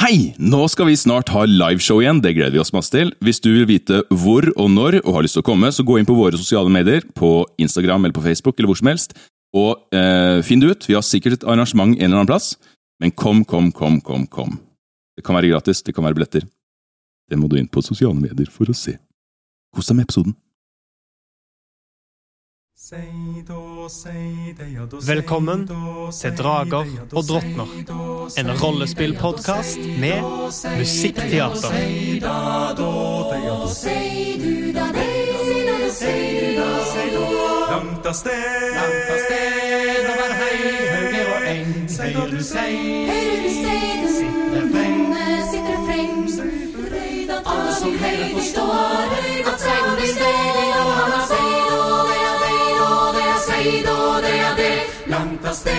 Hei! Nå skal vi snart ha liveshow igjen. Det gleder vi oss masse til. Hvis du vil vite hvor og når og har lyst til å komme, så gå inn på våre sosiale medier, på Instagram eller på Facebook eller hvor som helst, og eh, finn det ut. Vi har sikkert et arrangement en eller annen plass. Men kom, kom, kom, kom, kom. Det kan være gratis, det kan være billetter. Det må du inn på sosiale medier for å se. Kos deg med episoden. Velkommen til Drager og drottner. En rollespillpodkast med musikkteater. Langt av sted, seier du seier. Langt av sted.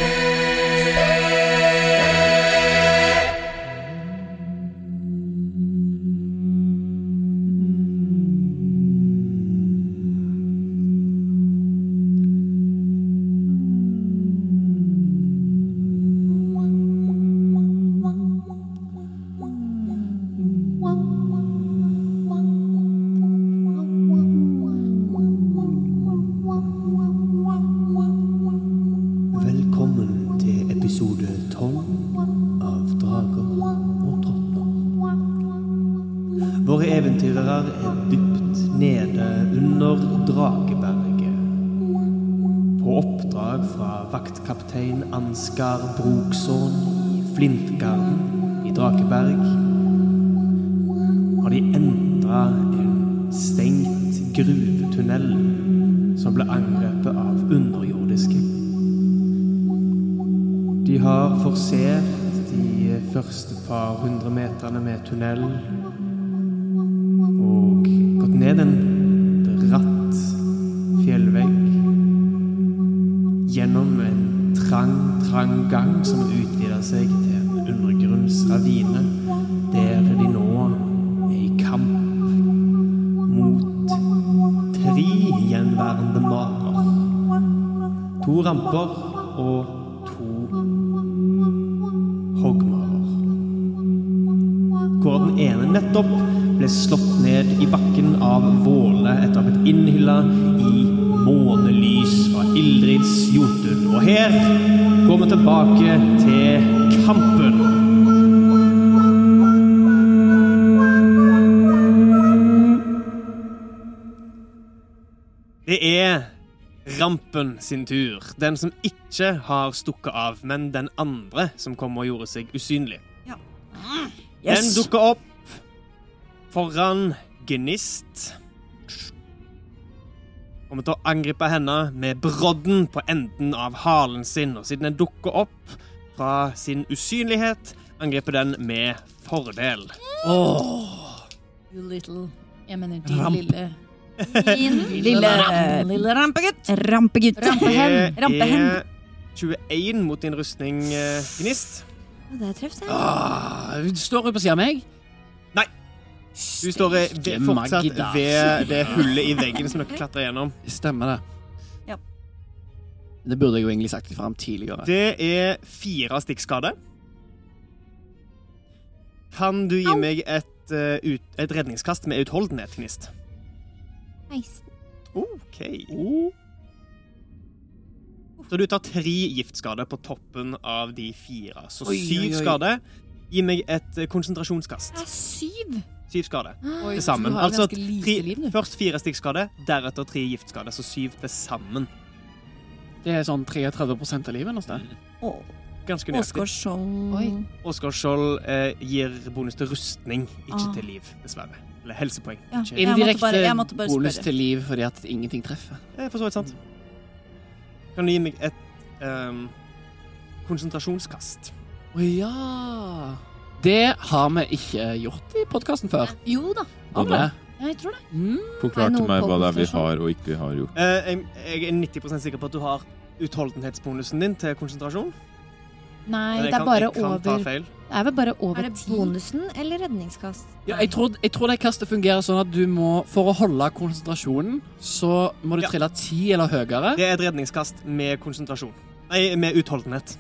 Velkommen til episode 12 av Drager og drottner. Våre eventyrere er dypt nede under Drakeberget. På oppdrag fra vaktkaptein Ansgar Broksån i Flintgarden i Drakeberg har de entra en stengt gruvetunnel som ble angrepet av underjordiske de har forsert de første par hundre meterne med tunnel. Og gått ned en bratt fjellvegg. Gjennom en trang, trang gang som utvider seg til en undergrunnsravine. Der de nå er i kamp mot tre gjenværende marer. To ramper og to hoggmarer. Hvor den ene nettopp ble slått ned i bakken av Våle etter å ha blitt innhylla i månelys fra Ildrids Jotun. Og her går vi tilbake til kampen. Det er Rampen sin tur. Den som ikke har stukket av, men den andre som kom og gjorde seg usynlig. Den dukker opp foran Gnist. Kommer til å angripe henne med brodden på enden av halen sin. Og siden den dukker opp fra sin usynlighet, angriper den med fordel. You little Jeg mener din Ramp. lille Din lille ramp. Lille rampegutt. Rampegutt. Rampehem. Det Rampehem. er 21 mot din rustning, eh, Gnist. Det traff jeg. Ah, hun står jo på siden av meg. Du står eh, Steike ved, fortsatt Magda. ved det hullet i veggen som dere klatrer gjennom. Stemmer det. Ja. Det burde jeg jo egentlig sagt ifra om tidligere. Det er fire stikkskade. Kan du gi meg et, eh, ut, et redningskast med utholdenhet, Gnist? 16. OK. Så du tar tre giftskader på toppen av de fire. Så Oi, oi, syv oi. skade. Gi meg et eh, konsentrasjonskast. Syv. Syv skade. Oi, til sammen. du har Altså, ganske lite liv, tre, du. først fire stikkskade, deretter tre giftskade. Så syv til sammen. Det er sånn 33 av livet noe sted. Og Ganske nøyaktig. Oskar Skjold. Oi. Oskar Skjold eh, gir bonus til rustning, ikke Ah. til liv, dessverre. Eller helsepoeng. Ja. Ikke- Jeg måtte bare- jeg måtte Indirekte bare bonus spørre. til liv fordi at ingenting treffer. Det er for så vidt sant. Mm. Kan du gi meg et ehm, konsentrasjonskast? Å ja. Det har vi ikke gjort i podkasten før. Jo da, Har vi det? jeg tror det. Mm. Er det Forklar til noe meg hva det er vi påkostasjon? har og ikke har gjort. Eh, jeg, jeg er 90 sikker på at du har utholdenhetsbonusen din til konsentrasjon. Nei, Men jeg det kan- er bare jeg kan ta over feil. Det er vel bare over Er det ti. bonusen eller redningskast? Ja, jeg, tror, jeg tror det kastet fungerer sånn at du må For å holde konsentrasjonen, så må du Ja. trille ti eller høyere. Det er et redningskast med konsentrasjon. Nei, med utholdenhet.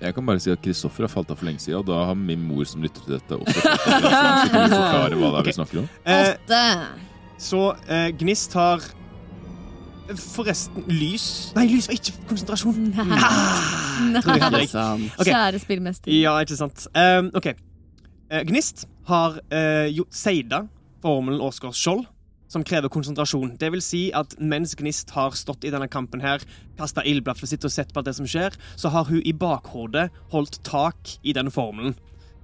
Jeg kan bare si at Kristoffer har falt av for lenge siden, og da har min mor som lytter til dette også falt av for lenge siden, så kan du forklare hva det er vi snakker om. Eh, Åtte. Så eh, Gnist har eh, Forresten, lys Nei, lys var ikke konsentrasjon. Ah, Nei. Nei. Nei. Liksom. Ok. Kjære spillmester. Ja, ikke sant. Ehm, OK. Eh, Gnist har eh, gjort seida formelen Åsgård skjold, som krever konsentrasjon. Det vil si at mens Gnist har stått i denne kampen her, kasta ildblaflet sitt og sett på alt det som skjer, så har hun i bakhodet holdt tak i den formelen,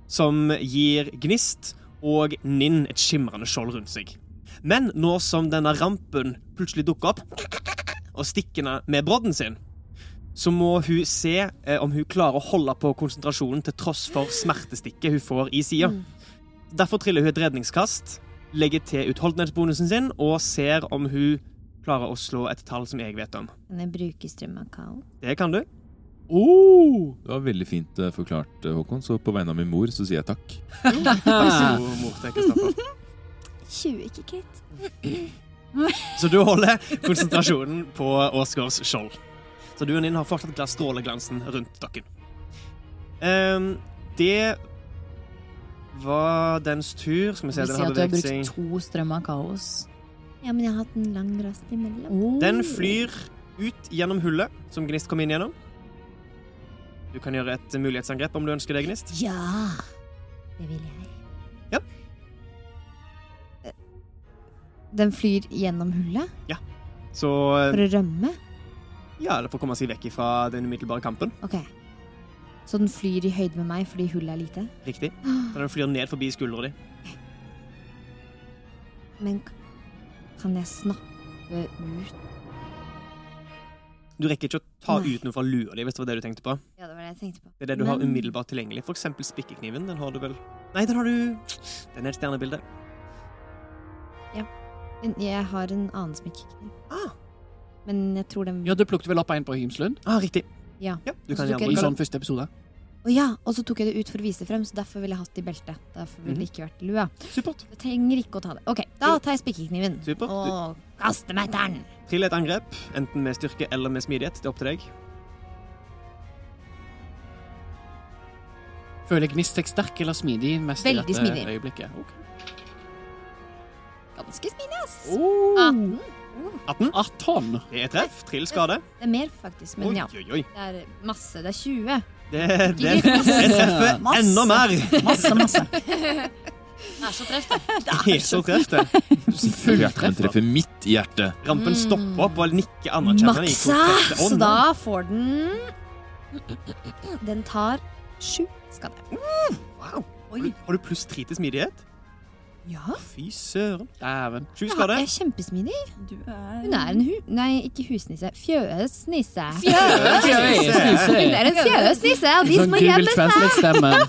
som gir Gnist og Ninn et skimrende skjold rundt seg. Men nå som denne rampen plutselig dukker opp og stikker henne med brodden sin, så må hun se eh, om hun klarer å holde på konsentrasjonen til tross for smertestikket hun får i sida. Mm. Derfor triller hun et redningskast, legger til utholdenhetsbonusen sin og ser om hun klarer å slå et tall som jeg vet om. Kan jeg bruke strøm av kao? Det kan du. Det var veldig fint eh, forklart, eh, Håkon, så på vegne av min mor så sier jeg takk. Vær så god, mor til Kristoffer. 20, ikke Kate. Så du holder konsentrasjonen på Åsgårds skjold. Så du og Ninn har fortsatt glass- stråleglansen rundt dere. Ehm, det var dens tur. Skal vi se, Vi den sier har at du har beveget seg brukt to strøm av kaos. Ja, men jeg har hatt en lang rast imellom. Oh. Den flyr ut gjennom hullet som Gnist kom inn gjennom. Du kan gjøre et mulighetsangrep om du ønsker det, Gnist. Ja! Det vil jeg. Ja. Eh, Den flyr gjennom hullet Så eh, for å rømme? ja, eller for å komme seg vekk fra den umiddelbare kampen. Ok. Så den flyr i høyde med meg fordi hullet er lite? Riktig. Ah. Så den flyr ned forbi skuldra di. Men k- kan jeg snappe ut Du rekker ikke å ta Nei. ut noe fra lua di, hvis det var det du tenkte på. Ja, det var det jeg tenkte på. Det er det du har Men- umiddelbart tilgjengelig. For eksempel spikkekniven. Den har du vel Nei, den har du Den er et stjernebilde. Men jeg har en annen smikkekniv. Ah. Men jeg tror den Ja, du plukket vel opp en på Hymslund? Ah, riktig. Ja. ja du Så kan du gjerne kan- I bruke den. sånn første episode. Å ja, og så tok jeg det ut for å vise det frem, så derfor ville jeg hatt det i beltet. Derfor ville det ikke vært i lua. Mhm. Supert. Jeg trenger ikke å ta det. Ok, da tar jeg spikkekniven. Supert. Du Og kaster meg etter den. trill et angrep, enten med styrke eller med smidighet. Det er opp til deg. Føler Gnist seg sterk eller smidig mest Veldig i dette smidig. øyeblikket? Ok. Ganske smidig, ass. Oh. 18. 18. Aton. Det er treff. Trill skade. Det er mer, faktisk, men Oi, ja. oi, oi. Det er masse. Det er 20. Det, det, det treffer Masse. enda mer! Masse, masse. Det er så treft. Så treff det. Hjertet treffer midt i hjertet. Rampen stopper opp og nikker anerkjennende. i Maksa! to treffer. Å, ah, Så nei. da får den Den tar 7 skade. Wow. Har Oi. du- Har du pluss tre til smidighet? Ja. Fy søren. Dæven. Sju Ja, skade. jeg er kjempesmidig. Du er Hun er en hu... Nei, ikke husnisse. Fjøsnisse. Hun Fjøsnisse. er en fjøsnisse, og de Sånn som har Google hjemme Translate-stemmen.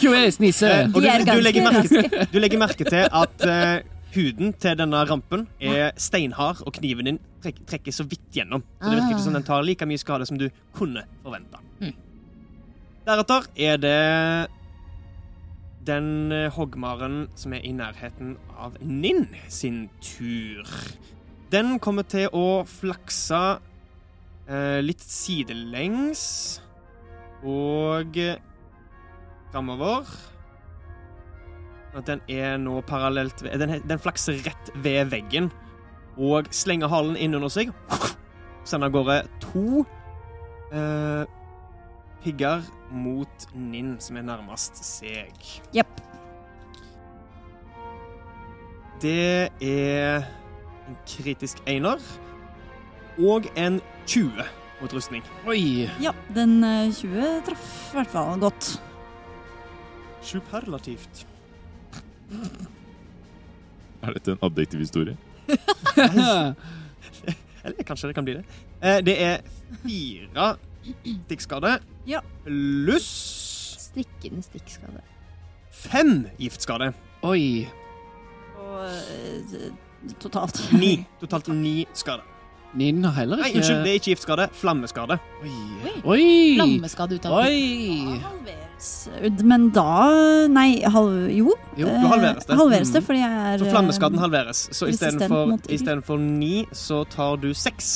Fjøsnisse. Eh, Og du, De er du, legger ganske merke, du legger merke til at eh, huden til denne rampen er steinhard, og kniven din trek, trekker så vidt gjennom. Så det virker ikke som Ah. den tar like mye skade som du kunne forventa. Hm. Deretter er det den eh, hoggmaren som er i nærheten av Ninn sin tur. Den kommer til å flakse eh, litt sidelengs og eh, framover. At den er nå parallelt ved, den, den flakser rett ved veggen og slenger halen inn under seg. Sender av gårde to eh, pigger mot Ninn, som er nærmest seg. Jepp. Det er en kritisk einer og en 20 mot rustning. Eh, Oi. Ja, den eh, 20 traff i hvert fall godt. Superlativt. Er dette en adjektiv historie? Eller kanskje det kan bli det. Eh, det er fire stikkskade Ja. pluss Stikkende stikkskade. fem giftskade. Oi. Og eh, totalt. Ni. Totalt ni skade. Ninn har heller Nei, ikke unnskyld, det er ikke giftskade. Flammeskade. Oi. Oi. Flammeskade ut av den. Oi. Halveres. Men da Nei, halv... Jo. Jo, du halveres det. Eh, Halveres det, Mm. fordi jeg er Så flammeskaden halveres. Så resistent istedenfor mot ild. istedenfor ni, så tar du seks.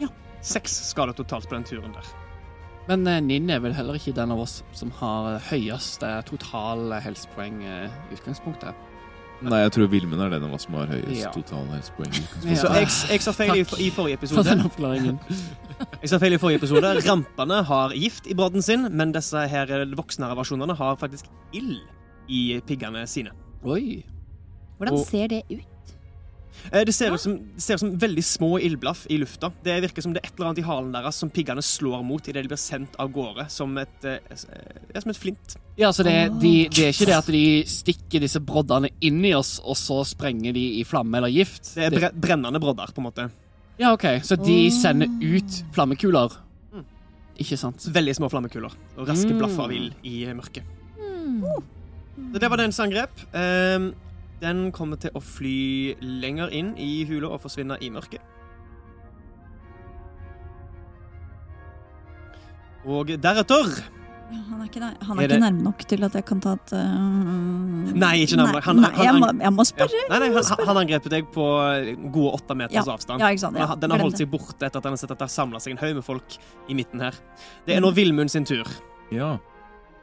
Ja. Seks skade totalt på den turen der. Men eh, Ninn er vel heller ikke den av oss som har eh, høyeste total helsepoeng eh, i utgangspunktet. Nei, jeg tror Vilmen er den av oss som har høyest Ja. total helsepoeng. Så Ja, jeg, jeg sa feil i, Takk. i forrige for episode. den oppklaringen. Jeg sa feil i forrige episode. Rampene har gift i brodden sin, men disse her voksnere versjonene har faktisk ild i piggene sine. Oi. Hvordan Og- ser det ut? Eh, Det ser ut som, det ser ut som veldig små ildblaff i lufta. Det virker som det er et eller annet i halen deres som piggene slår mot idet de blir sendt av gårde som et, eh, s- eh, ja, som et flint. Ja, så det, de, det er ikke det at de stikker disse broddene inn i oss, og så sprenger de i flamme eller gift. Det er bre brennende brodder, på en måte. ja, OK. Så de sender ut flammekuler. Mm. Ikke sant? Veldig små flammekuler og raske Mm. blaff av ild i mørket. Mm. Så det var dens angrep. Ehm, den kommer til å fly lenger inn i hula og forsvinne i mørket. Og deretter Ja, eh, Han er ikke, nær, han Er er det- ikke nærme nok til at jeg kan ta et øh, Nei, ikke nærme. Nei, Han- nei, han- jeg, han- må, jeg må ja. spørre. Nei, nei, han, han angrep deg på gode åtte meters avstand. Ja, ikke sant. Den Ja. har- Den har glem holdt det. seg borte etter at den har sett at det har samla seg en haug med folk i midten her. Det Mm. er nå Vilmund sin tur. Ja.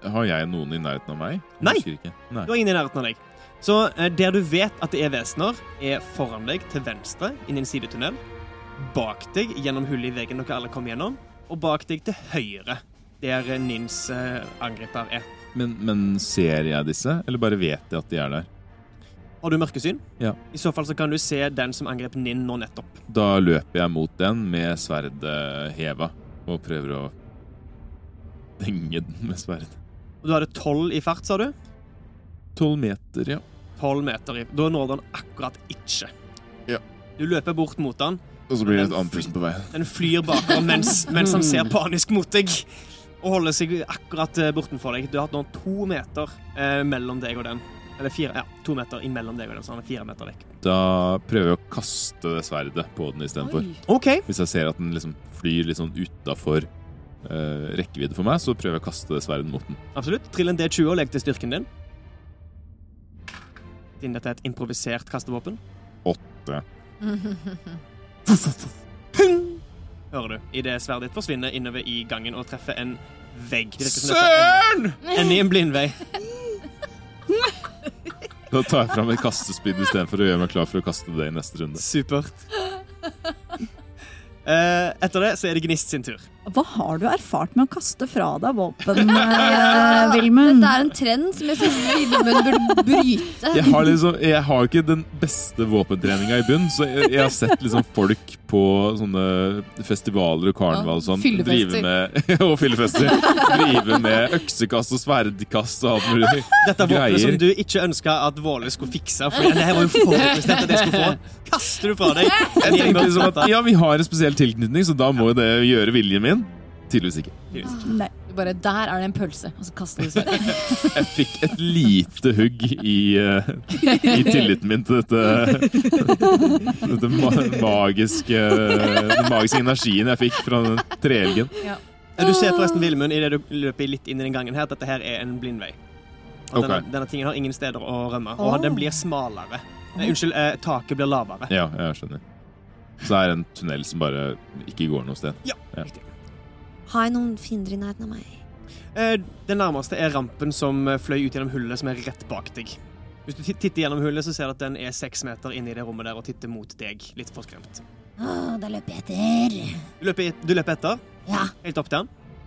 Har jeg noen i nærheten av meg? Jeg Nei. husker Ikke. Nei. Du har ingen i nærheten av deg. Så eh, der du vet at det er vesener, er foran deg til venstre inn i en sidetunnel, bak deg gjennom hullet i veggen dere alle kom gjennom, og bak deg til høyre, der eh, Nins eh, angriper er. Men, men ser jeg disse, eller bare vet jeg at de er der? Har du mørkesyn? Ja. I så fall så kan du se den som angrep Nin nå nettopp. Da løper jeg mot den med sverdet heva og prøver å denge den med sverd. Og du hadde tolv i fart, sa du? Tolv meter, ja. Tolv meter i Da når du den akkurat ikke. Ja. Du løper bort mot den. Og så blir det et annet person på vei. Den flyr bakover mens, mens han ser panisk mot deg og holder seg akkurat eh, bortenfor deg. Du har hatt nå to meter eh, mellom deg og den. Eller fire, ja, to meter imellom deg og den, så han er fire meter vekk. Da prøver jeg å kaste det sverdet på den istedenfor. OK. Hvis jeg ser at den liksom flyr litt sånn utafor eh, rekkevidde for meg, så prøver jeg å kaste det sverdet mot den. Absolutt. Trill en D20 og legg til styrken din. Siden dette er et improvisert kastevåpen. Åtte. Pung! Hører du, idet sverdet ditt forsvinner innover i gangen og treffer en vegg. Det virker som dette er Søren! en- Enn i en blindvei. Da tar jeg fram et kastespyd istedenfor å gjøre meg klar for å kaste det i neste runde. Supert. Eh, etter det så er det Gnist sin tur. Hva har du erfart med å kaste fra deg våpen, eh, Vilmund? Dette er en trend som jeg synes Vilmund burde bryte. Jeg har liksom, jeg har jo ikke den beste våpentreninga i bunn, så jeg, jeg har sett liksom folk på sånne festivaler og karneval og sånn drive fyllefester. med Og fyllefester. Drive med øksekast og sverdkast og alt mulig. Dette er våpenet Greier. som du ikke ønska at Våle skulle fikse. For det her var jo forbestemt at jeg skulle få. Kaster du fra deg? Jeg tenkte liksom at ja, vi har en spesiell tilknytning, så da må jo det gjøre viljen min. Tydeligvis ikke. Nei. Du bare, Der er det en pølse, og så kaster du sverdet. Jeg fikk et lite hugg i, eh, i tilliten min til dette, dette ma magiske Den magiske energien jeg fikk fra den treelgen. Du ser forresten Vilmund idet du løper litt inn i den gangen her, at dette her er en blindvei. At Ok. Denne, denne tingen har ingen steder å rømme. Og den blir smalere. Nei, unnskyld, eh, taket blir lavere. Ja, jeg skjønner. Så det er en tunnel som bare ikke går noe sted. Har jeg noen fiender i nærheten av meg? Eh, Det nærmeste er rampen som eh, fløy ut gjennom hullet, som er rett bak deg. Hvis du ti- titter gjennom hullet, så ser du at den er seks meter inne i det rommet der og titter mot deg, litt forskremt. Å, da løper jeg etter. Du løper, et- du løper etter, Ja, helt opp til den.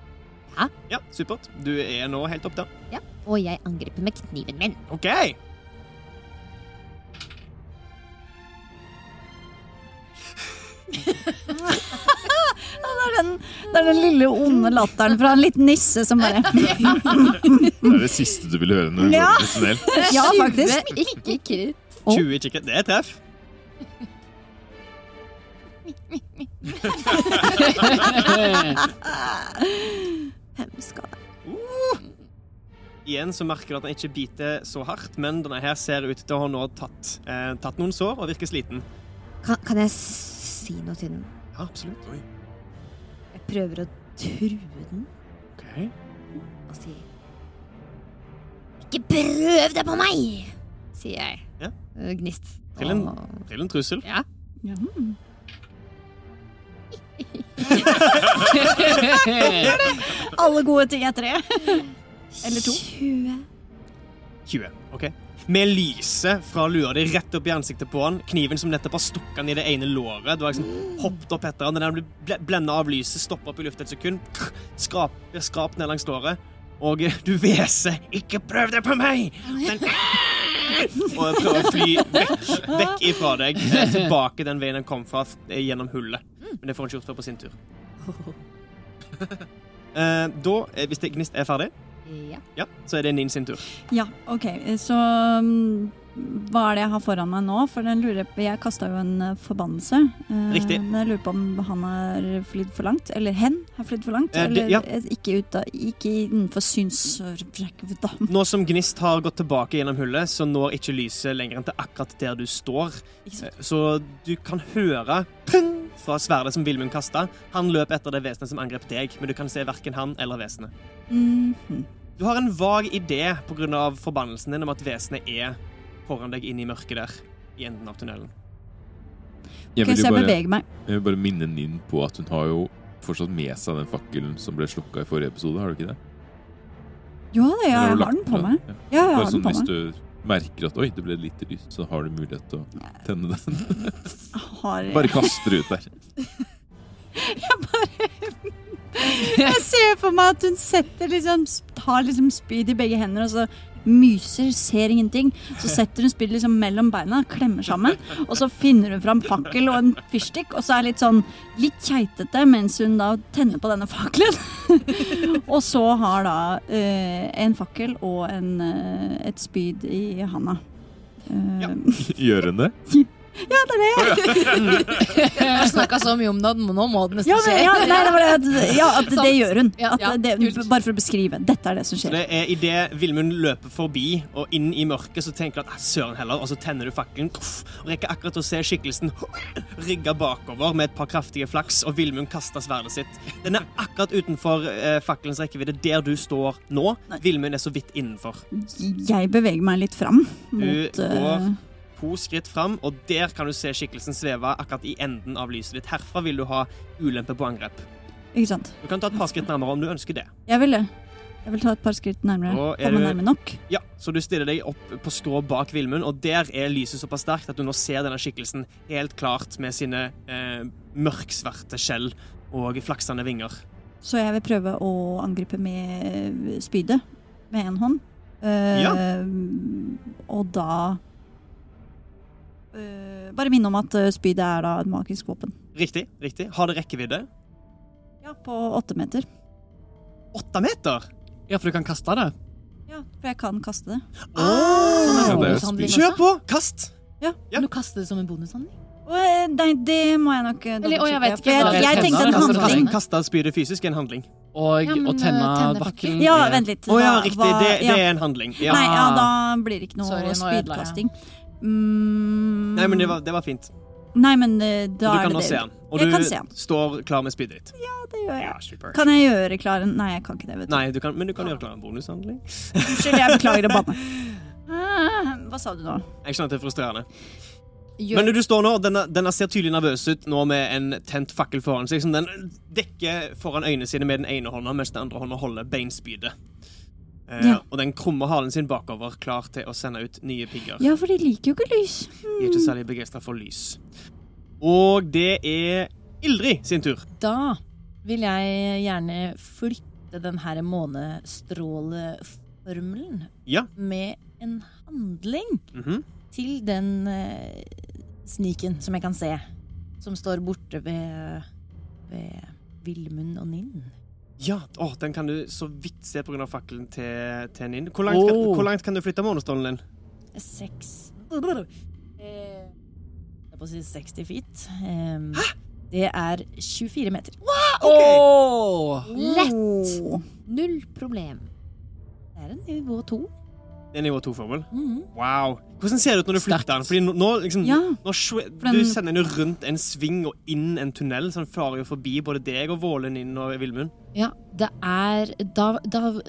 Ja. Ja, supert. Du er nå helt opp til den. og jeg angriper med kniven min. OK. Det, er den, det er den lille onde latteren fra en liten nisse som bare Det er det siste du vil høre når du Ja. går i en tunnel. Ja, faktisk. Ikke kritt. 20 kikker. Det er treff. Fem skader. Igjen så merker du at den ikke biter så hardt, men denne her ser ut til å ha nå tatt, eh, tatt noen sår og virker sliten. Kan, kan jeg si noe til den? Ja, absolutt. Jeg prøver å true den og si Ikke prøv deg på meg! Sier jeg. Ja. Eh, Gnist. Til en- Og- Trill en trussel. Ja. Ja. Alle gode ting er tre. Eller to. 20. 20. ok? Med lyset fra lua di rett opp i ansiktet på han, kniven som nettopp har stukket han i det ene låret. Du har liksom hoppet opp etter han, den blir ble blenda av lyset, stopper opp i lufta et sekund, skrap, skrap ned langs låret, og eh, du hveser 'Ikke prøv det på meg!' Den, og prøver å fly vekk, vekk ifra deg, eh, tilbake den veien han kom fra, f- eh, gjennom hullet. Men det får han ikke gjort før på sin tur. Eh, da, eh, hvis det gnist er ferdig, Ja. ja, så er det Nin sin tur. Ja, OK. Så mm, hva er det jeg har foran meg nå? For den lurer jeg på Jeg kasta jo en eh, forbannelse. Eh, Riktig. Men jeg lurer på om han har flydd for langt. Eller hen har flydd for langt. Eh, det- eller ja. eh, ikke, ut av, ikke innenfor synsrekkevidde. Nå som Gnist har gått tilbake gjennom hullet, så når ikke lyset lenger enn til akkurat der du står. Eh, Ikke sant? Så du kan høre pung fra sverdet som Vilmund kasta. Han løp etter det vesenet som angrep deg, men du kan se verken han eller vesenet. Mm. Mhm. Du har en vag idé pga. forbannelsen din om at vesenet er foran deg inn i mørket der. I enden av tunnelen. Jeg Ok, vil, så jo jeg bare, beveger meg. jeg vil bare minne Ninn på at hun har jo fortsatt med seg den fakkelen som ble slukka i forrige episode, har du ikke det? Jo da, Eller ja, jeg du har den lagt på meg. Ja. Ja, jeg Bare har den sånn på hvis meg. du merker at oi, det ble litt lyst, så har du mulighet til å tenne den. Har, eh, Bare kaster det ut der. Jeg ser for meg at hun setter liksom, tar liksom spyd i begge hender og så myser, ser ingenting. Så setter hun spyd liksom mellom beina, klemmer sammen, og så finner hun fram fakkel og en fyrstikk, og så er litt sånn litt keitete mens hun da tenner på denne fakkelen. og så har da eh, en fakkel og en, eh, et spyd i handa. Eh, Gjør hun det? Jeg har snakka så mye om det, at nå må det ja, nesten men, skje. ja, nei, det var det at, ja, at det Sant. gjør hun. Ja, At ja, det, kult. bare for å beskrive. Dette er det som Så skjer. det er idet Vilmund løper forbi og inn i mørket, så tenker du at "Ah, søren heller, og så tenner du fakkelen. Puff, Og rekker akkurat å se skikkelsen rigga bakover med et par kraftige flaks, og Vilmund kaster sverdet sitt. Den er akkurat utenfor eh, fakkelens rekkevidde, der du står nå. Vilmund er så vidt innenfor. Jeg beveger meg litt fram mot går. eh, To skritt fram, og der kan du se skikkelsen sveve akkurat i enden av lyset ditt. Herfra vil du ha ulempe på angrep. Ikke sant. Du kan ta et par skritt nærmere om du ønsker det. Jeg vil det. Jeg vil ta et par skritt nærmere. Og er Komme du- nærme nok. Ja, så du stiller deg opp på skrå bak Vilmund, og der er lyset såpass sterkt at du nå ser denne skikkelsen helt klart med sine eh, mørksvarte skjell og flaksende vinger. Så jeg vil prøve å angripe med eh, spydet. Med én hånd. Eh, Og da eh, Bare minne om at eh, spydet er da et magisk våpen. Riktig, riktig. Har det rekkevidde? Ja, på åtte meter. Åtte meter! Ja, for du kan kaste det. Ja, for jeg kan kaste det. Ja, sånn det er jo Bonushandling Sånn Kjør også. på! Kast! Kan du kaste det som en bonushandling? Og, eh, nei, det må jeg nok eh, Eller, å, jeg vet dobbeltsjekke, for ikke, Jeg, da. jeg tenkte en Kaster det. handling. Kasta spydet fysisk er en handling. Og Ja, men, eh, å tenne tenne bakken bakken. Ja, vent litt. Å ja, Hva- riktig. hva- Det, det ja. er en handling. Ja. Nei, ja, da blir det ikke noe Sorry, nå ødela jeg. spydkasting. Mm, Nei, men det var, det var fint. Nei, men, eh, Så da du er kan nå det se det. han. Og Jeg du kan se han. står klar med spydet ditt. Det gjør jeg. super. Kan jeg gjøre klar en Nei, jeg kan ikke det. vet du. Nei, du kan, men du kan gjøre klar en bonushandling. Unnskyld, jeg beklager å banne. Ah, Hva sa du nå? Jeg skjønner at det er frustrerende. Gjør- Men du står nå, og denne, denne ser tydelig nervøs ut nå med en tent fakkel foran seg, som den dekker foran øynene sine med den ene hånda, mens den andre hånda holder beinspydet. Eh, Ja. Og den krummer halen sin bakover, klar til å sende ut nye pigger. Ja, for de liker jo ikke lys. De er ikke særlig begeistra for lys. Og det er Ildrid sin tur. Da vil jeg gjerne flytte den her månestråleformelen Ja. med en handling Mhm. til den eh, sniken som jeg kan se, som står borte ved, ved Vilmund og Ninn. Ja, å, Den kan du så vidt se pga. fakkelen til, til Ninn. Hvor, langt kan- Åh. hvor langt kan du flytte månestålen din? Seks eh, Jeg holdt på å si 60 feet. Em, det er 24 meter. Ah, Åh! Lett! Null problem. Det er en nivå to. Det er nivå to-formel. Mhm. Wow. Hvordan ser det ut når du Sterkt. flytter den? Fordi nå, nå liksom Ja. Nå swe- For den- Du sender den jo rundt en sving og inn en tunnel, så den farer jo forbi både deg og Vålen inn og Vilmund. Ja, det er da, da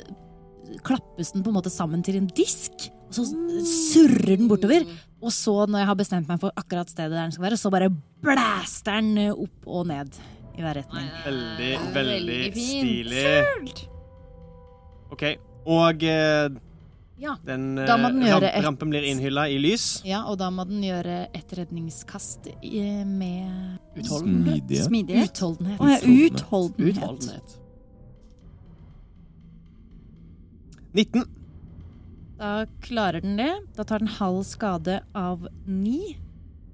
klappes den på en måte sammen til en disk, og så surrer den bortover. Og så, når jeg har bestemt meg for akkurat stedet der den skal være, så bare blæster den opp og ned i hver retning. Veldig, Ah, veldig veldig fint. stilig. OK. Og eh, Ja. den eh, Da må den gjøre ramp- et- rampen blir innhylla i lys. ja, og da må den gjøre et redningskast i- med Utholden- Smidige. Smidig. utholdenhet. Å ja, utholdenhet. Utholdenhet. 19. Da klarer den det. Da tar den halv skade av ni.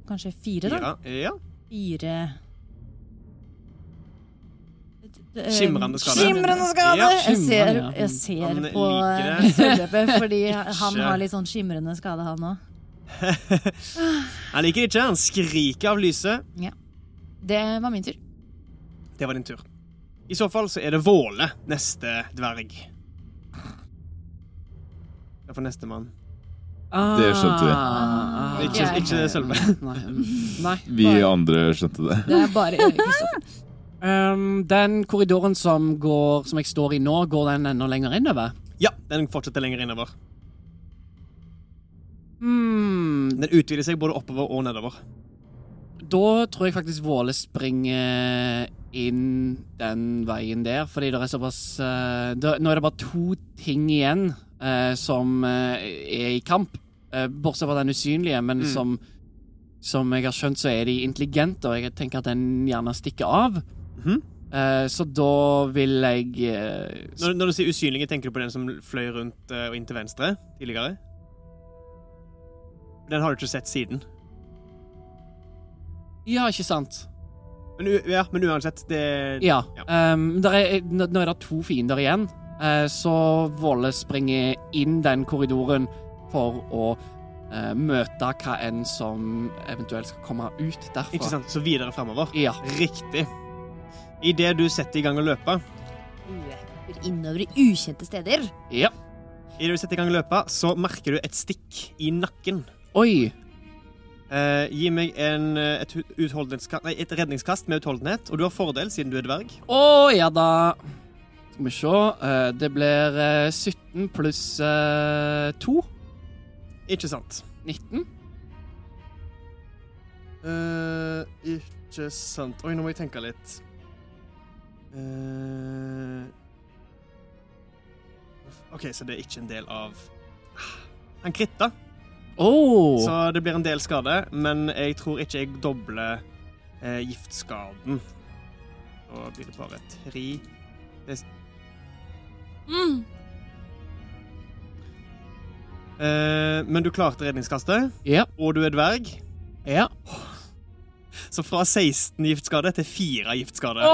Kanskje fire, da. Fire. Ja. Fire Skimrende skade. Skimrende skade! Ja, jeg ser, skimrende, ja. jeg ser Han på liker eh, det. Sølvleppe, fordi han Ikke. har litt sånn skimrende skade, han òg. Han liker det ikke. Han skriker av lyset. Det var min tur. Det var din tur. I så fall så er det Våle, neste dverg. Det er for nestemann. Det skjønte vi. Ah, Ikke, Ja. ikke Sølve. Nei. mm, Nei. Vi andre skjønte det. Det er bare Kristoffer. Ehm, den korridoren som, går, som jeg står i nå, går den enda lenger innover? Ja, den fortsetter lenger innover. Hmm, Den utvider seg både oppover og nedover. da tror jeg faktisk Våle springer eh, inn den veien der, fordi det er såpass eh, da, Nå er det bare to ting igjen eh, som eh, er i kamp, eh, bortsett fra den usynlige, men Mm. som som jeg har skjønt, så er de intelligente, og jeg tenker at den gjerne stikker av. Mhm. Eh, så da vil jeg eh, Når, når du sier usynlige, tenker du på den som fløy rundt eh, og inn til venstre tidligere? Den har du ikke sett siden. Ja, ikke sant? Men, u ja, men uansett, det Ja. ehm, der er, nå nå er det to fiender igjen, eh, så Våle springer inn den korridoren for å eh, møte hva enn som eventuelt skal komme ut derfra. Ikke sant? Så videre framover. Ja. Riktig. Idet du setter i gang å løpe, Løper innover i ukjente steder. ja. i det du setter i gang å løpe, så merker du et stikk i nakken. Oi. Eh, gi meg en, eh, et, hu- utholdenhetska- nei, et redningskast med utholdenhet, og du har fordel siden du er dverg. Å ja da. Skal vi se. eh, det blir eh, 17 pluss eh, 2. Ikke sant? 19. Eh, ikke sant Oi, nå må jeg tenke litt. Eh, OK, så det er ikke en del av Han kritta, Oh. så det blir en del skade, men jeg tror ikke jeg dobler eh, giftskaden. Da blir det bare tre Mm. eh, Men du klarte redningskastet, Ja. og du er dverg. ja. Så fra 16 giftskade til 4 giftskade. Åh!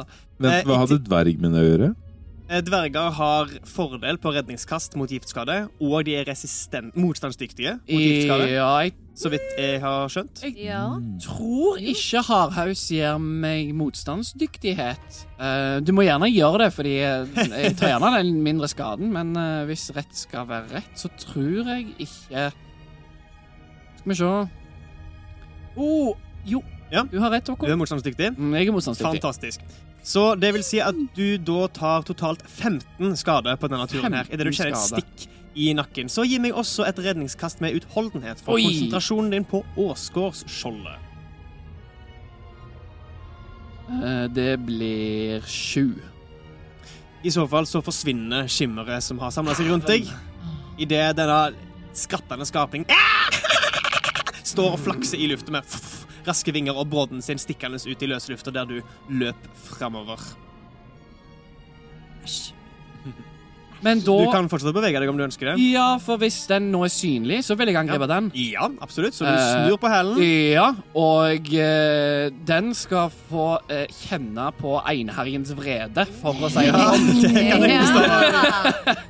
Eh, Vent, hva hadde dverg med det å gjøre? Eh, Dverger har fordel på redningskast mot giftskade, og de er resistent, motstandsdyktige mot giftskade, Ja, jeg så vidt jeg har skjønt. Ja. tror ikke hardhaus gir meg motstandsdyktighet. Eh, du må gjerne gjøre det, fordi jeg, jeg tar gjerne den mindre skaden, men eh, hvis rett skal være rett, så tror jeg ikke Skal vi se oh, Jo, Ja. du har rett, Du Håkon. er motstandsdyktig. Mm, Jeg er motstandsdyktig. Fantastisk. Så det vil si at du da tar totalt 15 skade på denne turen her, idet du 15 kjenner et skade. stikk i nakken. Så gi meg også et redningskast med utholdenhet for Oi. konsentrasjonen din på Åsgårdsskjoldet. Eh, det blir sju. I så fall så forsvinner skimmeret som har samla seg rundt deg, idet denne skrattende skapning står og flakser i luften med raske vinger og brodden sin stikkende ut i løse lufta der du løp framover. Men da Du kan fortsette å bevege deg om du ønsker det. Ja, for hvis den nå er synlig, så vil jeg angripe den. Ja, absolutt. Så du Eh, snur på hælen. Ja, og eh, den skal få eh, kjenne på einherjens vrede, for å si det sånn.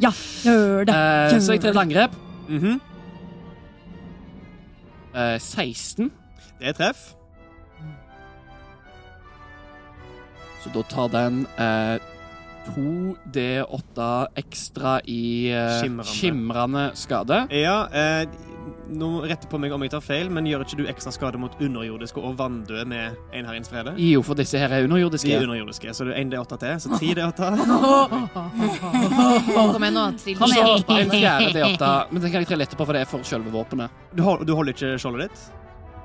Ja, gjør det. Eh, så jeg trer et angrep. Mhm. Eh, 16. Det er treff. Så da tar den eh, 2D8 ekstra i eh, Skimrende. skimrende skade. Ja, eh, nå retter på meg om jeg tar feil, men gjør ikke du ekstra skade mot underjordiske og vanndøde med Einherjens frede? Jo, for disse her er De er underjordiske. underjordiske, så det er 1D8 til, så 3D8. Kom igjen nå, trill. Og så en fjerde D8, men den kan jeg trille etterpå, for det er for selve våpenet. Du, hold- du holder ikke skjoldet ditt?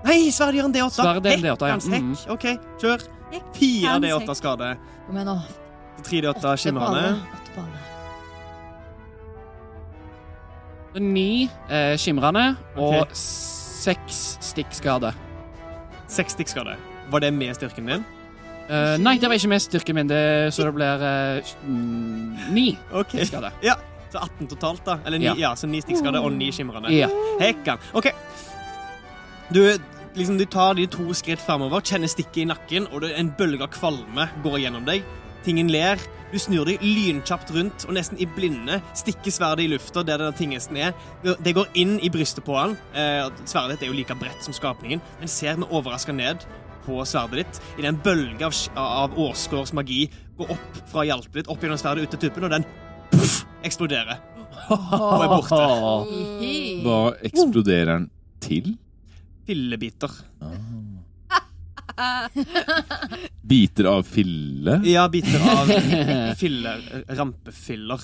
Nei, sverdet gjør en D8. Sverdet er en Hekk, D8, ja. hans hekk. Mm. OK, kjør. Hekk, Fire hans D8 hekk. skade. Kom igjen nå. 3D8 skimrende. Åtte på alle. Ni eh, skimrende Ok. og seks stikkskade. Seks stikkskade. Var det med styrken din? Eh, nei, det var ikke med styrken min, det, så det blir eh, mm, ni OK. stikkskade. Ja, så 18 totalt, da. Eller ni, ja. Ja. så ni stikkskader og ni skimrende. Ja. Hekkan. OK. Du, liksom, du tar de to skritt framover, kjenner stikket i nakken, og det, en bølge av kvalme går gjennom deg. Tingen ler. Du snur deg lynkjapt rundt, og nesten i blinde stikker sverdet i lufta der denne tinghesten er. Det går inn i brystet på han. Eh, og sverdet ditt er jo like bredt som skapningen, men ser med overraska ned på sverdet ditt. I den bølge av, sk- av Åsgårds magi går opp fra hjalpet ditt, opp gjennom sverdet ut til tuppen, og den puff, eksploderer. Og er borte. Hva eksploderer den til? Fillebiter. Biter av fille? Ja, biter av filler, rampefiller.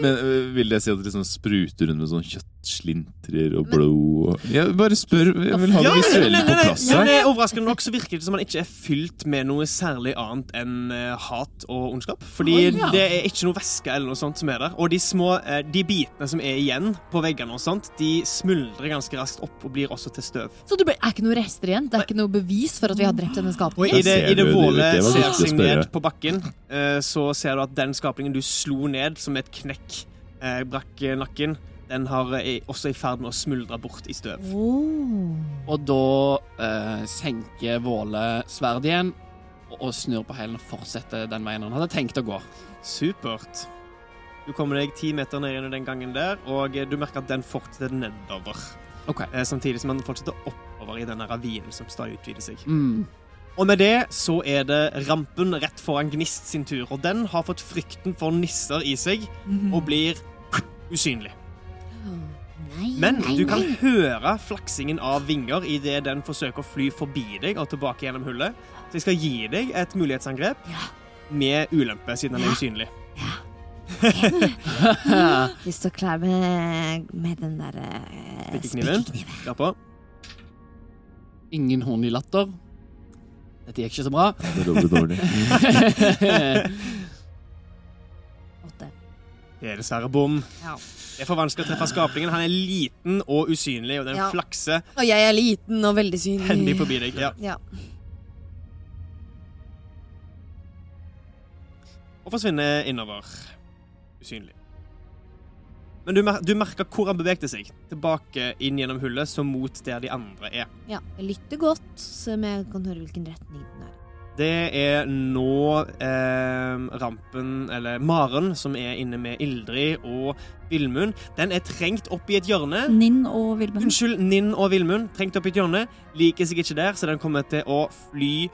Men øh, Vil det si at det liksom spruter rundt med sånn kjøttslintrer og blod og Jeg bare spør. Jeg vil ha det visuelle på plass her. Men eh, overraskende nok så virker det som han ikke er fylt med noe særlig annet enn eh, hat og ondskap. Fordi Å, ja. det er ikke noe væske eller noe sånt som er der. Og de små, eh, de bitene som er igjen på veggene og sånt, de smuldrer ganske raskt opp og blir også til støv. Så det ble- er ikke noe rester igjen? Det er ikke noe bevis for at vi har drept denne Og skapningen? i Der det, ser i det du, vålet det var ser viktig å seg spørre. ned på bakken, eh, så ser du at den skapningen du slo ned som et knekk, eh, brakk eh, nakken, den har, eh, er også i ferd med å smuldre bort i støv. Og da eh, senker Våle sverdet igjen og, og snur på hælen og fortsetter den veien han hadde tenkt å gå. Supert. Du kommer deg ti meter ned gjennom den gangen der, og eh, du merker at den fortsetter nedover. Ok. Eh, Samtidig som den fortsetter oppover i denne ravinen som stadig utvider seg. Mm. Og med det så er det rampen rett foran Gnist sin tur, og den har fått frykten for nisser i seg og blir usynlig. Men du kan høre flaksingen av vinger idet den forsøker å fly forbi deg og tilbake gjennom hullet. Så jeg skal gi deg et mulighetsangrep med ulempe, siden den er usynlig. Vi står klar med, med den der eh, Spikkekniven. Ja, på. Ingen horn i latter. Dette gikk ikke så bra. Det lover dårlig. spikkekniven. Det er dessverre bom. Ja. Det er for vanskelig å treffe skapningen. Han er liten og usynlig, og den Ja. flakser Og jeg er liten og veldig hendig synlig. forbi deg. Ja. Ja. Og forsvinner innover. Usynlig. Men du, mer du merker hvor han bevegde seg. Tilbake inn gjennom hullet, så mot der de andre er. ja. Jeg lytter godt, så jeg kan høre hvilken retning den er. Det er nå eh, rampen, eller Maren, som er inne med Ildrid og Villmund. Den er trengt opp i et hjørne. Ninn og Mhm. Vilben. Unnskyld, Ninn og Vilmund trengt opp i et hjørne. Liker seg ikke der, så den kommer til å fly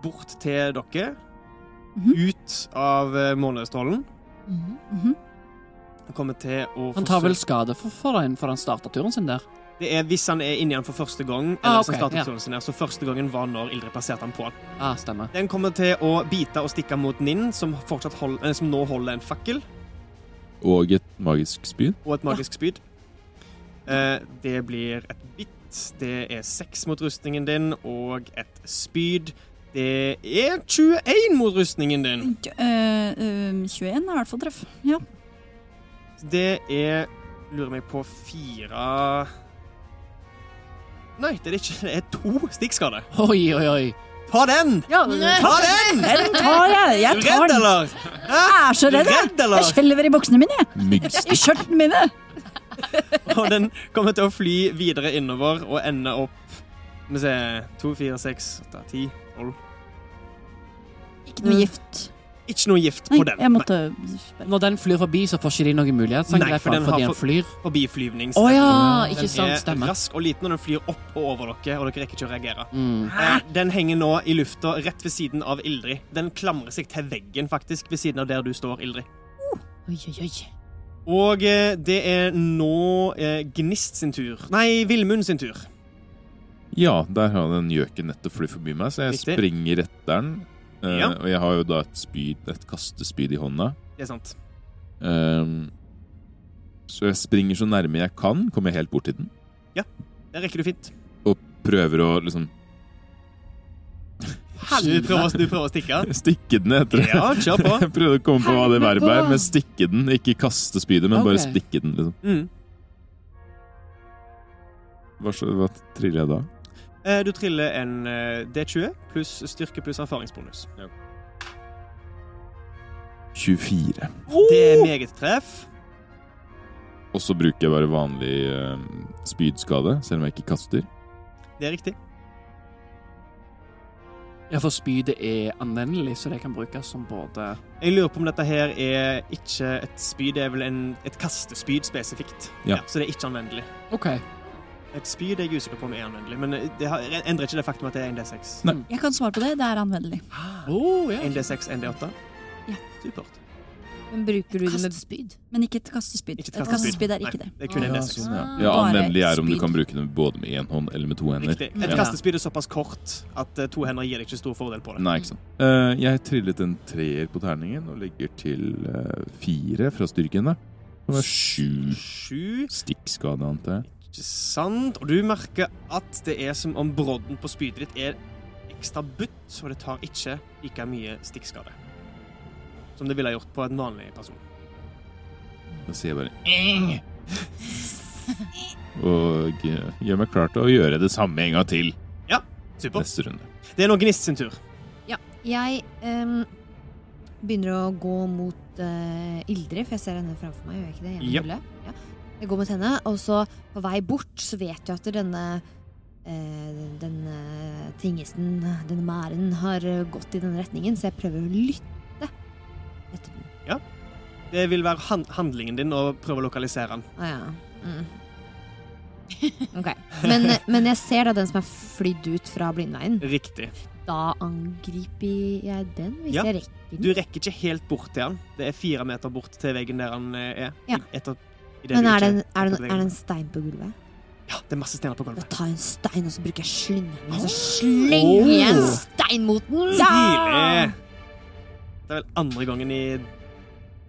bort til dere. Mhm. Ut av eh, månestrålen. Mhm. Mhm. Den Kommer til å Han tar forsøke- vel skade for, for den, for han starta turen sin der. Det er Hvis han er inni den for første gang, Ah, eller ok, som startet ja. turen sin her, så første gangen var når Ildrid plasserte han på han. Ah, stemmer. Den kommer til å bite og stikke mot Ninn, som, fortsatt hold, eh, som nå holder en fakkel Og et magisk spyd. og et magisk spyd. Eh, det blir et bitt. Det er seks mot rustningen din og et spyd. Det er 21 mot rustningen din. Eh, eh, 21 er i hvert fall treff. Ja. Det er Lurer meg på fire Nei, det er det ikke. Det er to stikkskader. Oi, oi, oi. Ta den! ja Ta den! den tar jeg! Er Jeg du tar redd, den. eller? Hæ? Jeg er så Er redd, du jeg. redd, Jeg eller? skjelver i buksene mine, jeg. Myggstikk. I skjørtene mine. Og den kommer til å fly videre innover og ende opp Skal vi se To, fire, seks, åtte, ti, tolv Ikke noe gift. Ikke noe gift Mm. Nei, på den. jeg måtte Når den flyr forbi, så får ikke de noen mulighet Nei, for den har fordi han fått- flyr. Nei, Forbiflyvnings... Å ja, ikke Den sant. er Stemmer. rask og liten, og den flyr opp og over dere, og dere rekker ikke å reagere. Mm. Eh, Den henger nå i lufta rett ved siden av Ildrid. Den klamrer seg til veggen, faktisk, ved siden av der du står, Ildrid. Oi, oi, oi. Og eh, det er nå eh, Gnist sin tur. Nei, Villmund sin tur. Ja, der har den gjøken nettopp flydd forbi meg, så jeg Riktig. springer etter den. Eh, Ja. Og jeg har jo da et spyd, et kastespyd i hånda. Det er sant. Ehm, så jeg springer så nærme jeg kan, kommer helt bort til den. Det rekker du fint. Prøver å liksom Kan du prøve, å- du prøver å stikke? Stikke den etter det. Ja, kjør på. Jeg prøvde å komme på hva det Herregud. verbet er, men stikke den. Ikke kaste spydet, men bare Ok. stikke den, liksom. Mm. Hva, så- hva triller jeg da? Eh, Du triller en eh, D20 pluss styrke pluss erfaringsbonus. 24. Det Oh! er meget treff. Og så bruker jeg bare vanlig eh, spydskade, selv om jeg ikke kaster. Det er riktig. Ja, for spydet er anvendelig, så det kan brukes som både Jeg lurer på om dette her er ikke et spyd, det er vel en, et kastespyd spesifikt. Ja. så det er ikke anvendelig. OK. Et spyd er jeg usikker på om er anvendelig, men det har, endrer ikke det faktum at det er 1D6. Jeg kan svare på det. Det er anvendelig. Oh, ja. 1D6, 1D8. Ja. Supert. Men bruker du det med Kastespyd. Men ikke et kastespyd. Ikke et Et kastespyd er Nei, ikke det. Det er kun Ah, 1D6. Ja, Ah. ja Bare Anvendelig er om du spyd. kan bruke den både med én hånd eller med to hender. Riktig. Et Ja. kastespyd er såpass kort at eh, to hender gir deg ikke stor fordel på det. Nei, ikke sant. Eh, jeg trillet en treer på terningen og legger til eh, fire fra styrken. da. Det var sju Sju. stikkskade, antar jeg. Ikke sant? Og du merker at det er som om brodden på spydet ditt er ekstra butt, og det tar ikke like mye stikkskade. Som det ville ha gjort på en vanlig person. Da sier jeg bare «Ing!» Og eh, gjør meg klar til å gjøre det samme en gang til Supert. neste runde. Det er nå Gnist sin tur. Jeg ehm, begynner å gå mot eh, Ildrid, for jeg ser henne framfor meg. Gjør jeg ikke det? Gjennom Ja. hullet? Ja. Jeg går mot henne, og så på vei bort så vet jeg at denne eh, denne tingesen, denne mæren, har eh, gått i den retningen, så jeg prøver å lytte etter den. Det vil være han handlingen din å prøve å lokalisere den. Å ja. Mm. Ok. Men, men jeg ser da den som er flydd ut fra blindveien. Riktig. Da angriper jeg den, hvis Ja. jeg rekker den. Du rekker ikke helt bort til den. Det er fire meter bort til veggen der den eh, er. Ja. I- Etter, i det Men du er det, en, ikke- er, det, etter er det veggen. en stein på gulvet? Ja, det er masse steiner på Da gulvet. tar jeg en stein, og så bruker jeg slyngeren. Og så slenger jeg en stein mot den! Stilig! Det er vel andre gangen i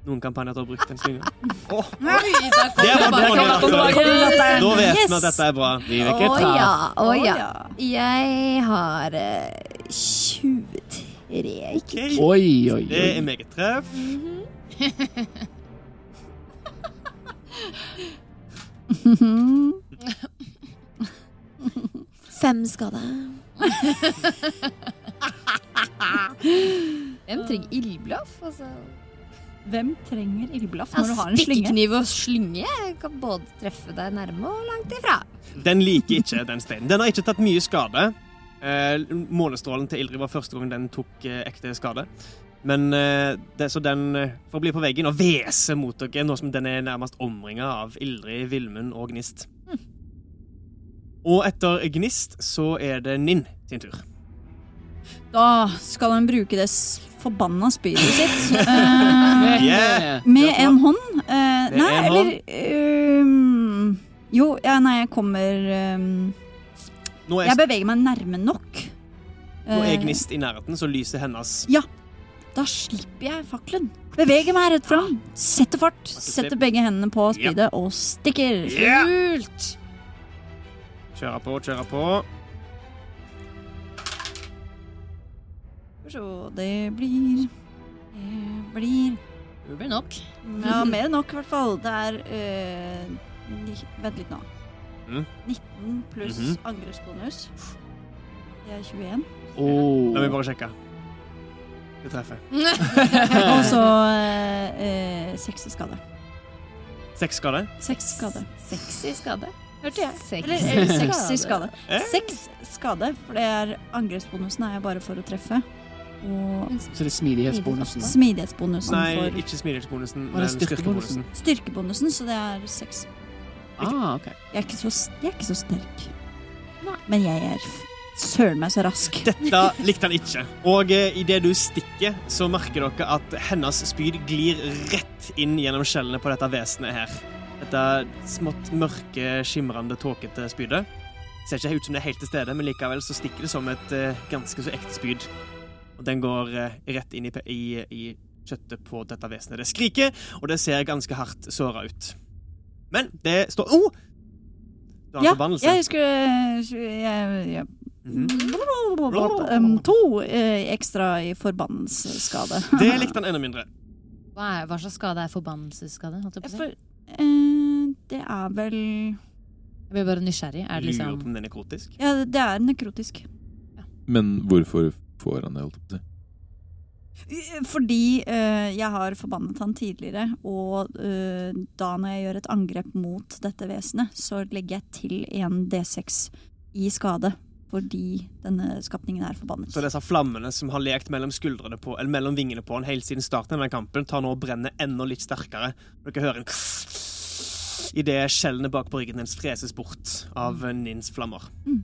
noen kampanjer at du har brukt den slyngen. Åh, Det var bra, Da vet vi at dette er bra. Vi Å vil ikke ta ja, å Å ja. Jeg har eh, 23 Ok, Oi, oi, Det er oi. meget treff. Fem skade. Hvem trenger ildblaff? Altså? Hvem trenger ildblaff Ja, altså, når du har en slynge? Spikkekniv og slynge Jeg kan både treffe deg nærme og langt ifra. Den liker ikke den steinen. Den har ikke tatt mye skade. Eh, månestrålen til Ildrid var første gang den tok eh, ekte skade. Men eh, det, Så den eh, får bli på veggen og hvese mot dere, nå som den er nærmest omringa av Ildrid, Villmund og Gnist. Og etter Gnist så er det Ninn sin tur. Da skal han bruke det s- forbanna spydet sitt. eh, Yeah. med en hånd. eh, Med nei, en eller ehm, Jo, ja, nei, jeg kommer ehm, Nå Jeg er, beveger meg nærme nok. nå er Eh, Gnist i nærheten, så lyset hennes Da slipper jeg fakkelen. Beveger meg rett fram. Setter fart. Setter begge hendene på spydet og stikker. Kult! kjører på, kjører på. Så det blir Det blir Det blir nok. Ja, mer enn nok, i hvert fall. Det er eh, ni- Vent litt nå. Mm. 19 pluss Mhm. angrepsbonus. Det er 21. Oh. La meg bare sjekke. Det treffer. Og så eh, eh, seks i skade. Seks skade. Seks skade. Sexy skade. Hørte jeg. Seks Eller, eller seks i skade. skade. Eh? Seks skade, for det er angrepsbonusen er jeg bare for å treffe. Og Så det er smidighetsbonusen. smidighetsbonusen Nei, for ikke smidighetsbonusen, Var men det styrkebonusen. styrkebonusen? styrkebonusen, så det er seks. Ah, ok. Jeg er ikke så, jeg er ikke så sterk. Men jeg er f- søren meg så rask. Dette likte han ikke. Og eh, idet du stikker, så merker dere at hennes spyd glir rett inn gjennom skjellene på dette vesenet her. Dette smått mørke, skimrende, tåkete spydet. Ser ikke helt ut som det er helt til stede, men likevel så stikker det som et eh, ganske så ekte spyd. Og den går eh, rett inn i, pe- i, i kjøttet på dette vesenet. Det skriker, og det ser ganske hardt såra ut. Men det står Å! Oh! Du har en Ja, forbannelse. Mhm. jeg skulle jeg, jeg Mm-hmm. Mhm. Um, to eh, ekstra i forbannelsesskade. Det likte han enda mindre. Hva, er, hva slags skade er forbannelsesskade? holdt jeg på å si? For eh, det er vel Jeg blir bare nysgjerrig. Er det Lurer liksom på om den er nekrotisk. Ja, det er nekrotisk. Men hvorfor får han det? holdt jeg på å si? Fordi eh, jeg har forbannet han tidligere, og eh, da når jeg gjør et angrep mot dette vesenet, så legger jeg til en D6 i skade. Fordi denne skapningen er forbannet. Så disse flammene som har lekt mellom skuldrene på, eller mellom vingene på han helt siden starten av denne kampen, tar nå og brenner enda litt sterkere. Dere hører en Idet skjellene bak på ryggen hennes freses bort av Nins flammer. Mm.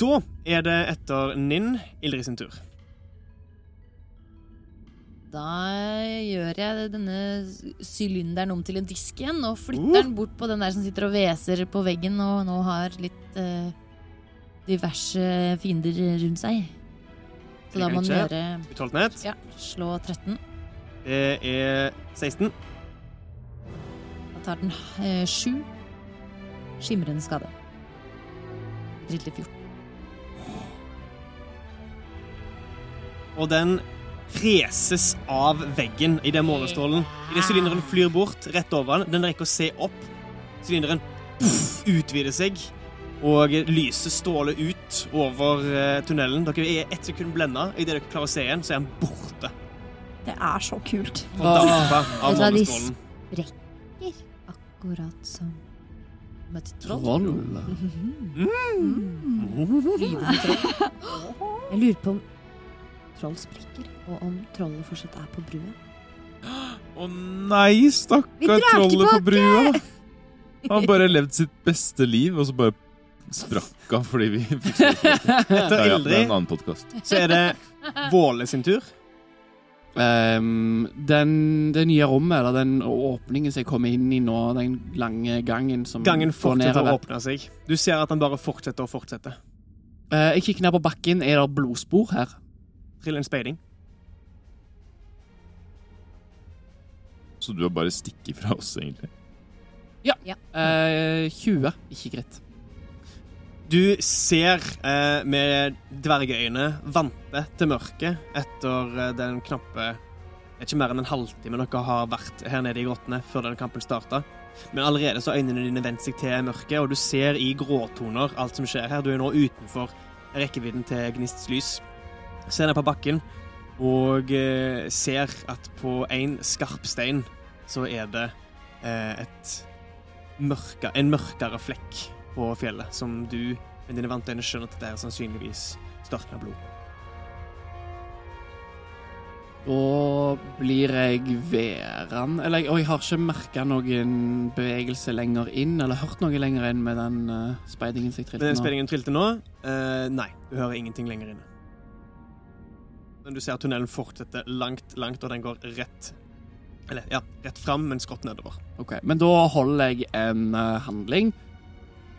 Da er det etter Ninn Ildrid sin tur. Da gjør jeg denne sylinderen om til en disk igjen og flytter den bort på den der som sitter og hveser på veggen og nå har litt eh, diverse fiender rundt seg. Så Det da kan må den jeg gjøre Utholdenhet. ja, slå 13. Det er 16. Da tar den eh, 7 skimrende skade. Dritt litt 14. og den freses av veggen i den månestrålen. Idet sylinderen flyr bort rett over den. Den rekker å se opp. Sylinderen puff, utvider seg, og lyset stråler ut over eh, tunnelen. Dere er ett sekund blenda. Idet dere klarer å se igjen, så er han borte. Det er så kult. Og dampa Vet av du hva, de månestrålen. Akkurat som Møtte troll. Lydende troll. Jeg lurer på om troll sprekker, og om trollet fortsatt er på brua. Å nei, Vi stakkar drar trollet på tilbake! brua! Han har bare levd sitt beste liv, og så bare sprakk han fordi vi fikk ja, ja, Etter Det er en Ildrid annen podkast. så er det Våle sin tur. Ehm, den, det nye rommet, eller den åpningen som jeg kom inn i nå, den lange gangen som Gangen går fortsetter å nedover. åpne seg. Du ser at han bare fortsetter og fortsetter. Eh, jeg kikker ned på bakken. Er det blodspor her? Trill en speiding. Så du har bare stikket fra oss, egentlig. Eh, 20. Ikke greit. Du ser eh, med dvergeøyne vante til mørket etter eh, den knappe Det er ikke mer enn en halvtime dere har vært her nede i grottene før den kampen starta. Men allerede så har øynene dine vendt seg til mørket, og du ser i gråtoner alt som skjer her. Du er nå utenfor rekkevidden til Gnists lys. Ser ned på bakken og eh, ser at på en skarp stein så er det eh, et mørke, en mørkere flekk på fjellet, som du med dine vante øyne skjønner at det er sannsynligvis størkna blod. Da blir jeg værende Eller jeg, og jeg har ikke merka noen bevegelse lenger inn, eller hørt noe lenger inn med den eh, speidingen som Men jeg den trilte nå. spenningen trilte nå. Eh, nei, du hører ingenting lenger inne. Men du ser at tunnelen fortsetter langt, langt, og den går rett Eller, ja, rett fram, men skrått nedover. Ok, Men da holder jeg en eh, handling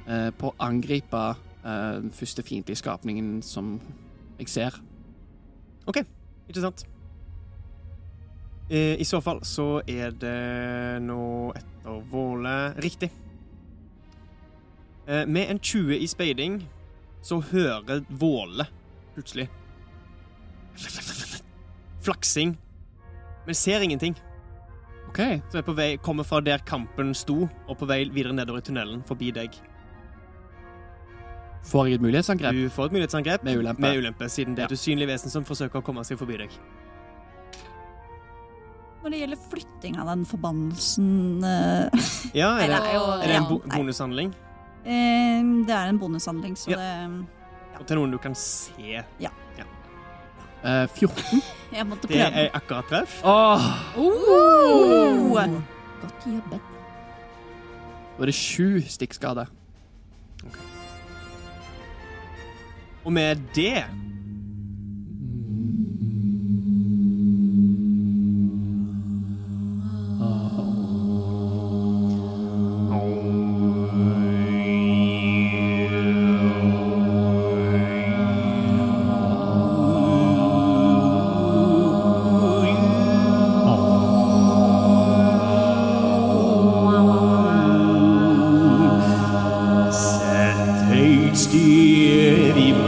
eh, på å angripe eh, den første fiendtlige skapningen som jeg ser. Ikke sant? Eh, I så fall så er det nå etter Våle Riktig. Eh, med en 20 i speiding så hører Våle plutselig Flaksing, men ser ingenting. OK. Som er på vei, kommer fra der kampen sto, og på vei videre nedover i tunnelen forbi deg. Får jeg et mulighetsangrep? Du får et mulighetsangrep Med ulempe. med ulempe siden det er et usynlig vesen som forsøker å komme seg forbi deg. Når det gjelder flytting av den forbannelsen eh, Ja, Nei, er det, det er jo er det en bo Nei. bonushandling? eh, Det er en bonushandling, så Ja. det Og til noen du kan se. Eh, 14. Jeg måtte Det prøve. er akkurat treff. Åh, Oh! Godt jobbet. da er det sju stikkskader. Og med det Set eight steel.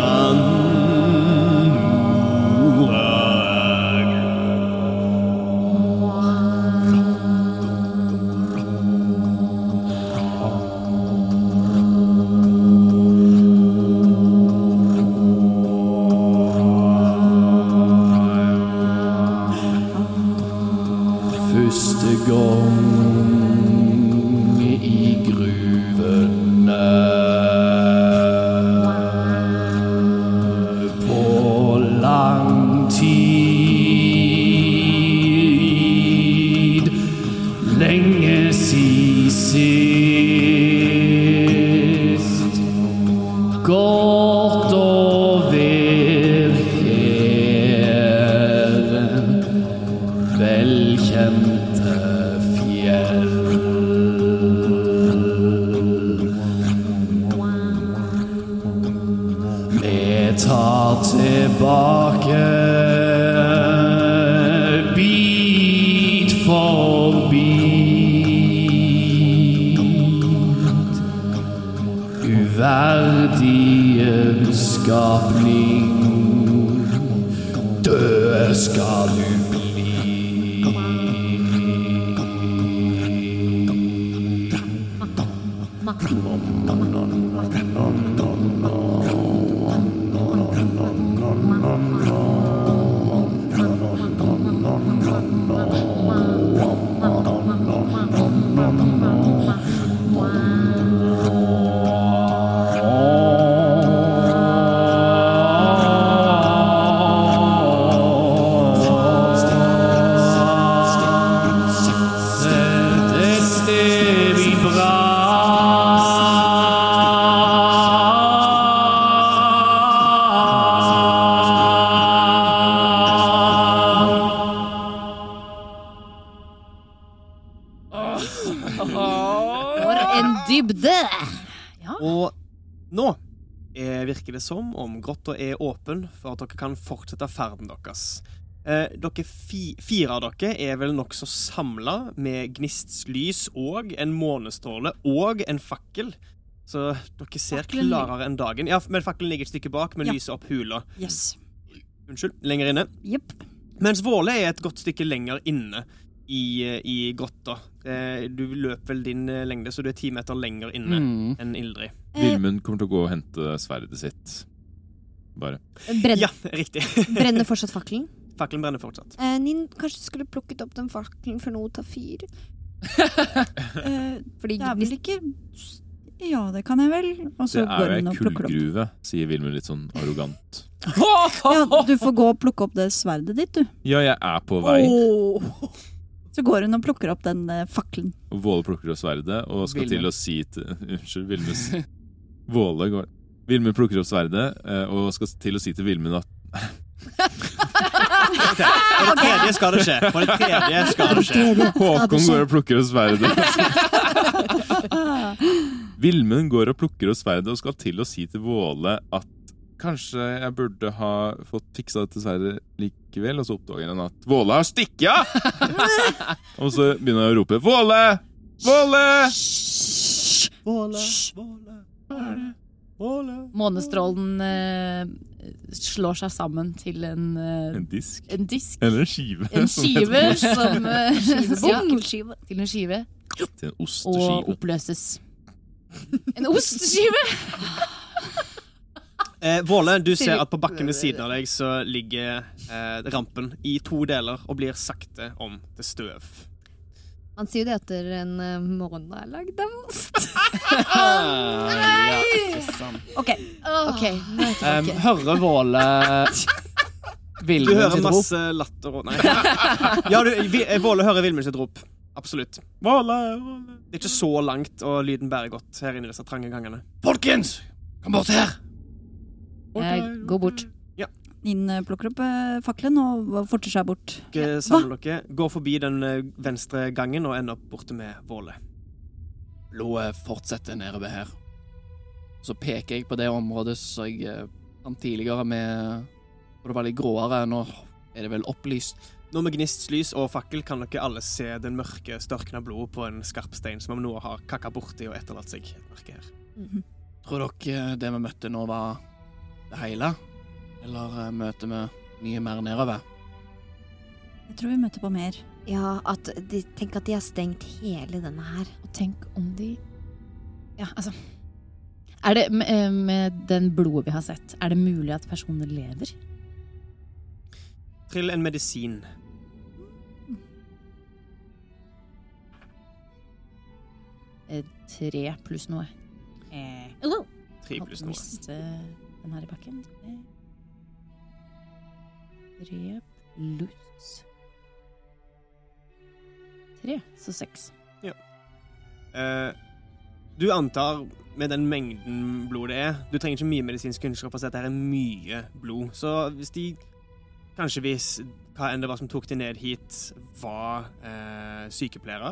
første gang i gruvene. På lang tid, lenge si sist. Godt å virke velkjente fjell. Vi tar tilbake bit for bit. Uverdige skal bli, døde skal du Sette vi For en dybde! Og nå eh, virker det som om grotta er åpen for at dere kan fortsette ferden deres. Eh, dere fi, fire av dere er vel nokså samla med gnists lys og en månestråle og en fakkel. Så dere ser Fakkelen ligger- klarere enn dagen. Ja, men Fakkelen ligger et stykke bak, men Ja. lyser opp hula. Yes. Unnskyld, lenger inne. Jepp. Mens Våle er et godt stykke lenger inne i, i grotta. Eh, Du løper vel din eh, lengde, så du er ti meter lenger inne Mm. enn Ildrid. Eh, Vilmund kommer til å gå og hente sverdet sitt. Bare. Brenn, Ja, riktig. Brenner fortsatt fakkelen? Fakkelen brenner fortsatt. Eh, Nin, kanskje du skulle plukket opp den fakkelen før noe tar fyr? Eh, Fordi det er hvis vel ikke Ja, det kan jeg vel. Og så Det går er jo hun ei og plukker det opp. kullgruve, sier Vilmund litt sånn arrogant. Ja, du får gå og plukke opp det sverdet ditt, du. Ja, jeg er på vei. Åh. Oh, Så går hun og plukker opp den eh, fakkelen. Og Våle plukker opp sverdet og skal Vilmund. til å si til Unnskyld, Vilmund. s- Våle går Vilmund plukker opp sverdet eh, og skal til å si til Vilmund at På det tredje skal det skje. På det tredje skal det skje. Håkon går og plukker opp sverdet. Vilmund går og plukker opp sverdet og skal til å si til Våle at Kanskje jeg burde ha fått fiksa dette sverdet likevel, og så oppdager han at Våle har stikket av! og så begynner han å rope Våle! Våle! Våle, Våle, Våle. Månestrålen eh, slår seg sammen til en, eh, En disk. en disk. Eller en skive. En som heter skive som eh, ja, Bungelskive. Til en skive. Til en Og osteskive. oppløses. En osteskive! Eh, Våle, du ser at på bakken ved siden av deg så ligger eh, rampen i to deler og blir sakte om til støv. Man sier jo det etter en eh, morgen er lagd av ost. Ja, ikke sant. Ok, Ok, nå er jeg Um, tilbake. hører Våle Du Vilmund hører sitt rop? masse latter og Nei. Ja, du, vi, eh, Våle hører Vilmund sitt rop. Absolutt. Våle, Våle. Det er ikke så langt, og lyden bærer godt her inne i disse trange gangene. Folkens, kom bort her! Jeg går bort. Nin eh, plukker opp eh, fakkelen og forter seg bort. Dere samler dere, går forbi den eh, venstre gangen og ender opp borte med Våle. Blodet fortsetter nede ved eh, her. Så peker jeg på det området som jeg eh, fant tidligere med For det var litt gråere. Nå er det vel opplyst. Nå med gnistlys og fakkel kan dere alle se den mørke, størkna blodet på en skarp stein som om noe har kakka borti og etterlatt seg et merke her. Tror dere eh, det vi møtte nå, var det hele? Eller eh, møter vi mye mer nedover? Jeg tror vi møter på mer. Ja, at de, tenk at de har stengt hele denne her. Og tenk om de Ja, altså Er det med, eh, med den blodet vi har sett, er det mulig at personer lever? Trill en medisin. eh, tre pluss noe. Eh. Hello. Tre pluss noe. Måtte miste eh, den her i bakken. Tre pluss tre, så seks. Eh, du antar, med den mengden blod det er Du trenger ikke mye medisinsk kunnskap for å si at det er mye blod. Så hvis de Kanskje hvis hva enn det var som tok de ned hit, var eh, sykepleiere,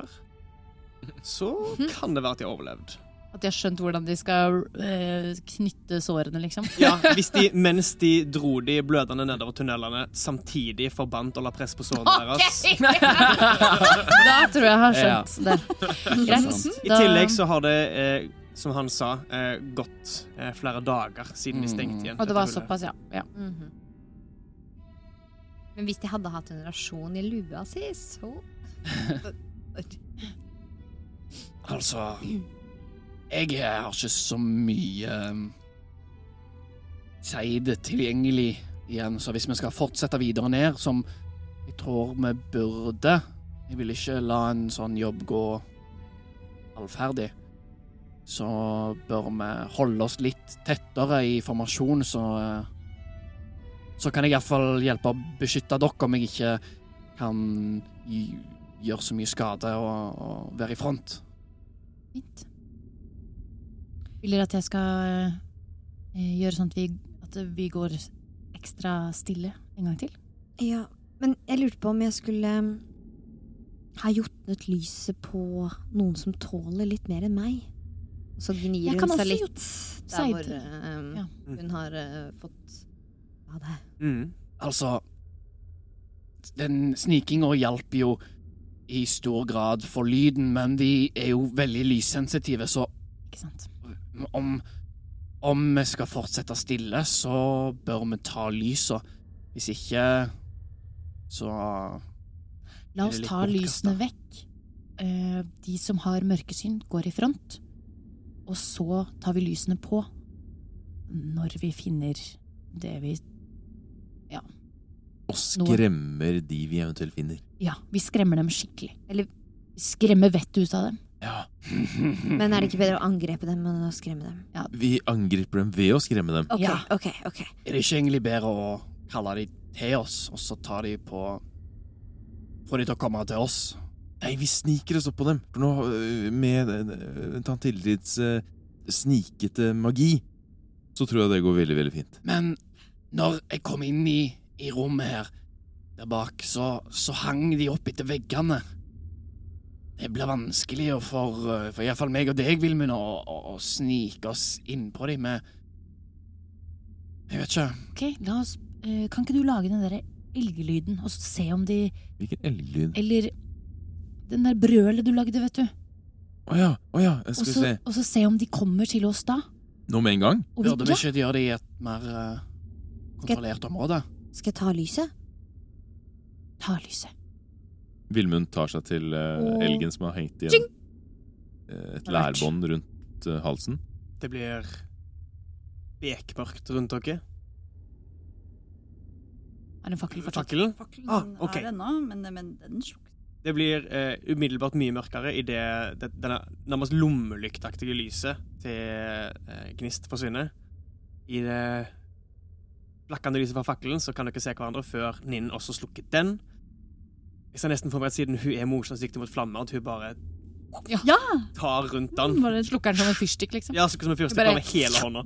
så kan det være at de har overlevd. At de har skjønt hvordan de skal eh, knytte sårene, liksom. Ja, hvis de, mens de dro de blødende nedover tunnelene, samtidig forbandt og la press på sårene deres. da tror jeg jeg har skjønt Ja. Sånn. det. Greit. I Da- tillegg så har det, eh, som han sa, eh, gått eh, flere dager siden de stengte igjen. Og det var dette hullet. såpass, ja. ja. Mhm. Men hvis de hadde hatt en rasjon i lua si, så Altså Jeg har ikke så mye um, seide tilgjengelig igjen, så hvis vi skal fortsette videre ned, som jeg tror vi burde Jeg vil ikke la en sånn jobb gå halvferdig. Så bør vi holde oss litt tettere i formasjon, så eh, Så kan jeg iallfall hjelpe å beskytte dere om jeg ikke kan gi- gjøre så mye skade og, og være i front. Fint. Vil dere at jeg skal eh, gjøre sånn at vi, at vi går ekstra stille en gang til? Ja, men jeg lurte på om jeg skulle um, ha jotnet lyset på noen som tåler litt mer enn meg. Og så gnir Jeg hun kan seg også litt jotne der seg hvor til. um, Ja. hun har uh, fått hva det Mm. er. Altså Den snikinga hjalp jo i stor grad for lyden, men de er jo veldig lyssensitive, så Ikke sant? om Om vi skal fortsette stille, så bør vi ta lysa. Hvis ikke, så La er oss det litt ta bortkastet. lysene vekk. Eh, De som har mørkesyn, går i front. Og så tar vi lysene på når vi finner det vi Ja. Og skremmer de vi eventuelt finner. ja vi skremmer dem skikkelig. Eller vi skremmer vettet ut av dem. Men er det ikke bedre å angrepe dem enn å skremme dem? Vi angriper dem ved å skremme dem. Ok, Ja. ok, ok. Er det ikke egentlig bedre å kalle de til oss, og så ta de på Få de til å komme til oss? Nei, vi sniker oss opp på dem. For nå, øh, med øh, tante Hildids øh, snikete magi, så tror jeg det går veldig, veldig fint. Men når jeg kom inn i, i rommet her, der bak, så, så hang de opp etter veggene. Det blir vanskelig å for, eh, for iallfall meg og deg, Vilmund, å, å, å snike oss innpå dem med Jeg vet ikke. Ok, la oss eh, Kan ikke du lage den derre elgelyden, og så se om de Hvilken elglyd. Eller den der brølet du lagde, vet du. Å ja, å ja, Og skal vi så- se. Og så se om de kommer til oss da. Nå med en gang? Og vi- Burde vi ikke gjøre det i et mer eh, kontrollert område? Skal jeg ta lyset? Ta lyset. Vilmund tar seg til øh, eh, Åh. elgen som har hengt igjen Tjing! eh, et lærbånd rundt øh, eh, halsen. Det blir bekmørkt rundt dere. Er det en fakkel fortsatt? Fakkelen? Ah, Fakkelen ok. er ennå, men, men den slukte. Det blir eh, umiddelbart mye mørkere idet det- denne nærmest lommelyktaktige lyset til eh, Gnist forsvinner. I det flakkende lyset fra fakkelen så kan dere se hverandre før Ninn også slukker den. Jeg ser nesten for meg at siden hun er motstandsdyktig mot flammer, at hun bare Ja! tar rundt den. Bare slukker den som en fyrstikk, liksom. Ja, så som en fyrstikke Bare- bare med hele hånda.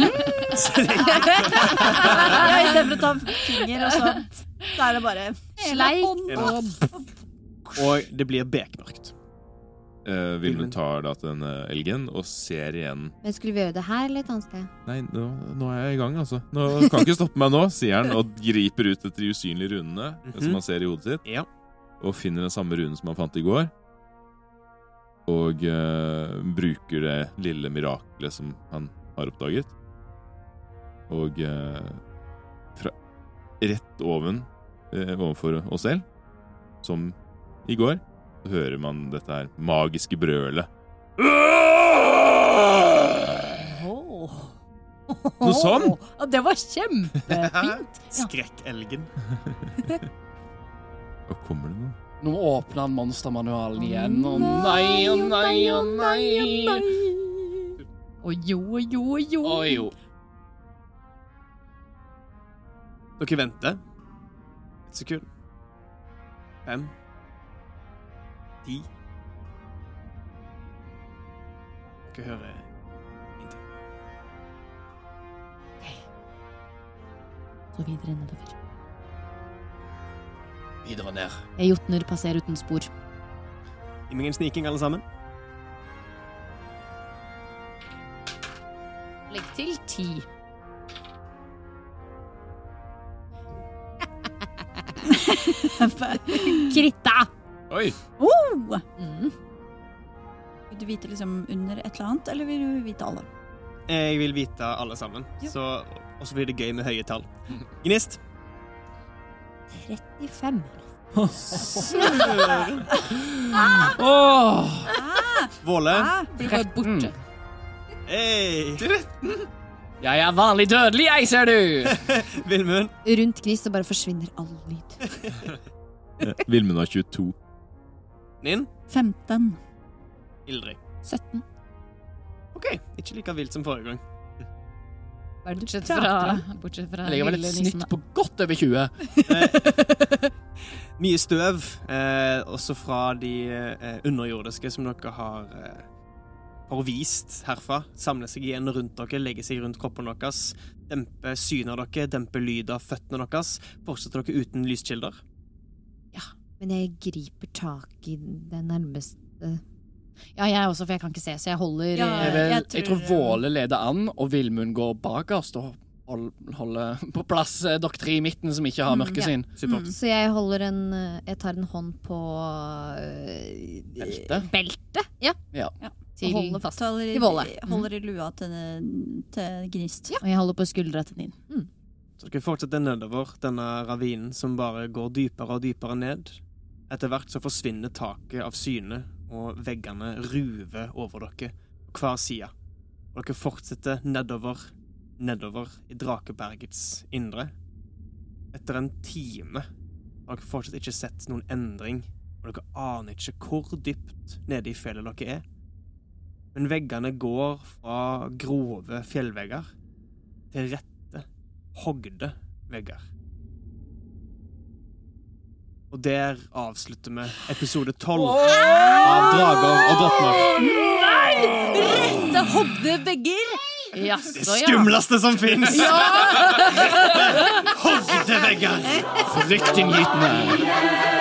ja Istedenfor å ta finger, og så Da er det bare Sleik. og Og det blir Øh, bekmørkt. Eh, Vilmund tar da til denne elgen og ser igjen Men skulle vi gjøre det her eller et annet sted? Nei, nå, nå er jeg i gang, altså. Nå du kan ikke stoppe meg nå, sier han og griper ut etter de usynlige runene Mhm. som han ser i hodet sitt, Ja. og finner den samme runen som han fant i går. Og eh, bruker det lille miraklet som han har oppdaget. Og eh, fra, rett oven eh, overfor oss selv, som i går, så hører man dette her magiske brølet. Noe sånn? Ja, det var Eh, kjempefint. Skrekkelgen. Og kommer det noe? Nå åpner han monstermanualen igjen. Å nei, å nei, å nei. Å jo, å jo, å jo. Å jo. Dere venter. Et sekund. Fem. Ti. Dere hører ingenting. Så videre nedover. Videre ned. Jeg jotner passer uten spor. Ingen sniking, alle sammen. Legg til ti. Kritta! Oi! Oh! Vil du vite liksom under et eller annet, eller vil du vite alle? Jeg vil vite alle sammen. Så, og så blir det gøy med høye tall. Gnist. 35. Søren. Åh! Våle. Ah, Blir bare borte. mm. Hey. Jeg er vanlig dødelig, jeg, ser du! Vilmund. Rundt Gnist så bare forsvinner all lyd. Vilmund har 22. Nin. 15. Ildrid. 17. OK. Ikke like vilt som forrige gang. Bortsett prater fra, bortsett fra Jeg legger vel et lille nissen, snitt da. på godt over 20. Mye støv, eh, også fra de eh, underjordiske som dere har, eh, har vist herfra. Samler seg igjen rundt dere, legger seg rundt kroppen deres. Demper synet av dere, demper lyden av føttene deres. Fortsetter dere uten lyskilder. Men jeg griper tak i den nærmeste Ja, jeg også, for jeg kan ikke se, så jeg holder Ja, eh, Jeg, vel, jeg jeg, tror- tror Våle leder an, og Vilmund går bakerst og hold- holder på plass eh, dere tre i midten, som ikke har Mm, ja. mørkesyn. Supert. Så jeg holder en eh, Jeg tar en hånd på eh, Beltet. Beltet? Ja. Ja. til, Og holder fast. Holder i, Til Våle. holder i lua til, til Gnist. Og jeg holder på skuldra til din. Så dere fortsetter nedover denne ravinen som bare går dypere og dypere ned. Etter hvert så forsvinner taket av syne, og veggene ruver over dere på hver side. Og dere fortsetter nedover, nedover i Drakebergets indre. Etter en time har dere fortsatt ikke sett noen endring, og dere aner ikke hvor dypt nede i fjellet dere er. Men veggene går fra grove fjellvegger til rette hogde vegger. Og der avslutter vi episode tolv av Drager og drottner. Mm. Rette hogde vegger! Jaså, Skumleste som fins! Hogde vegger! Fryktinngytende.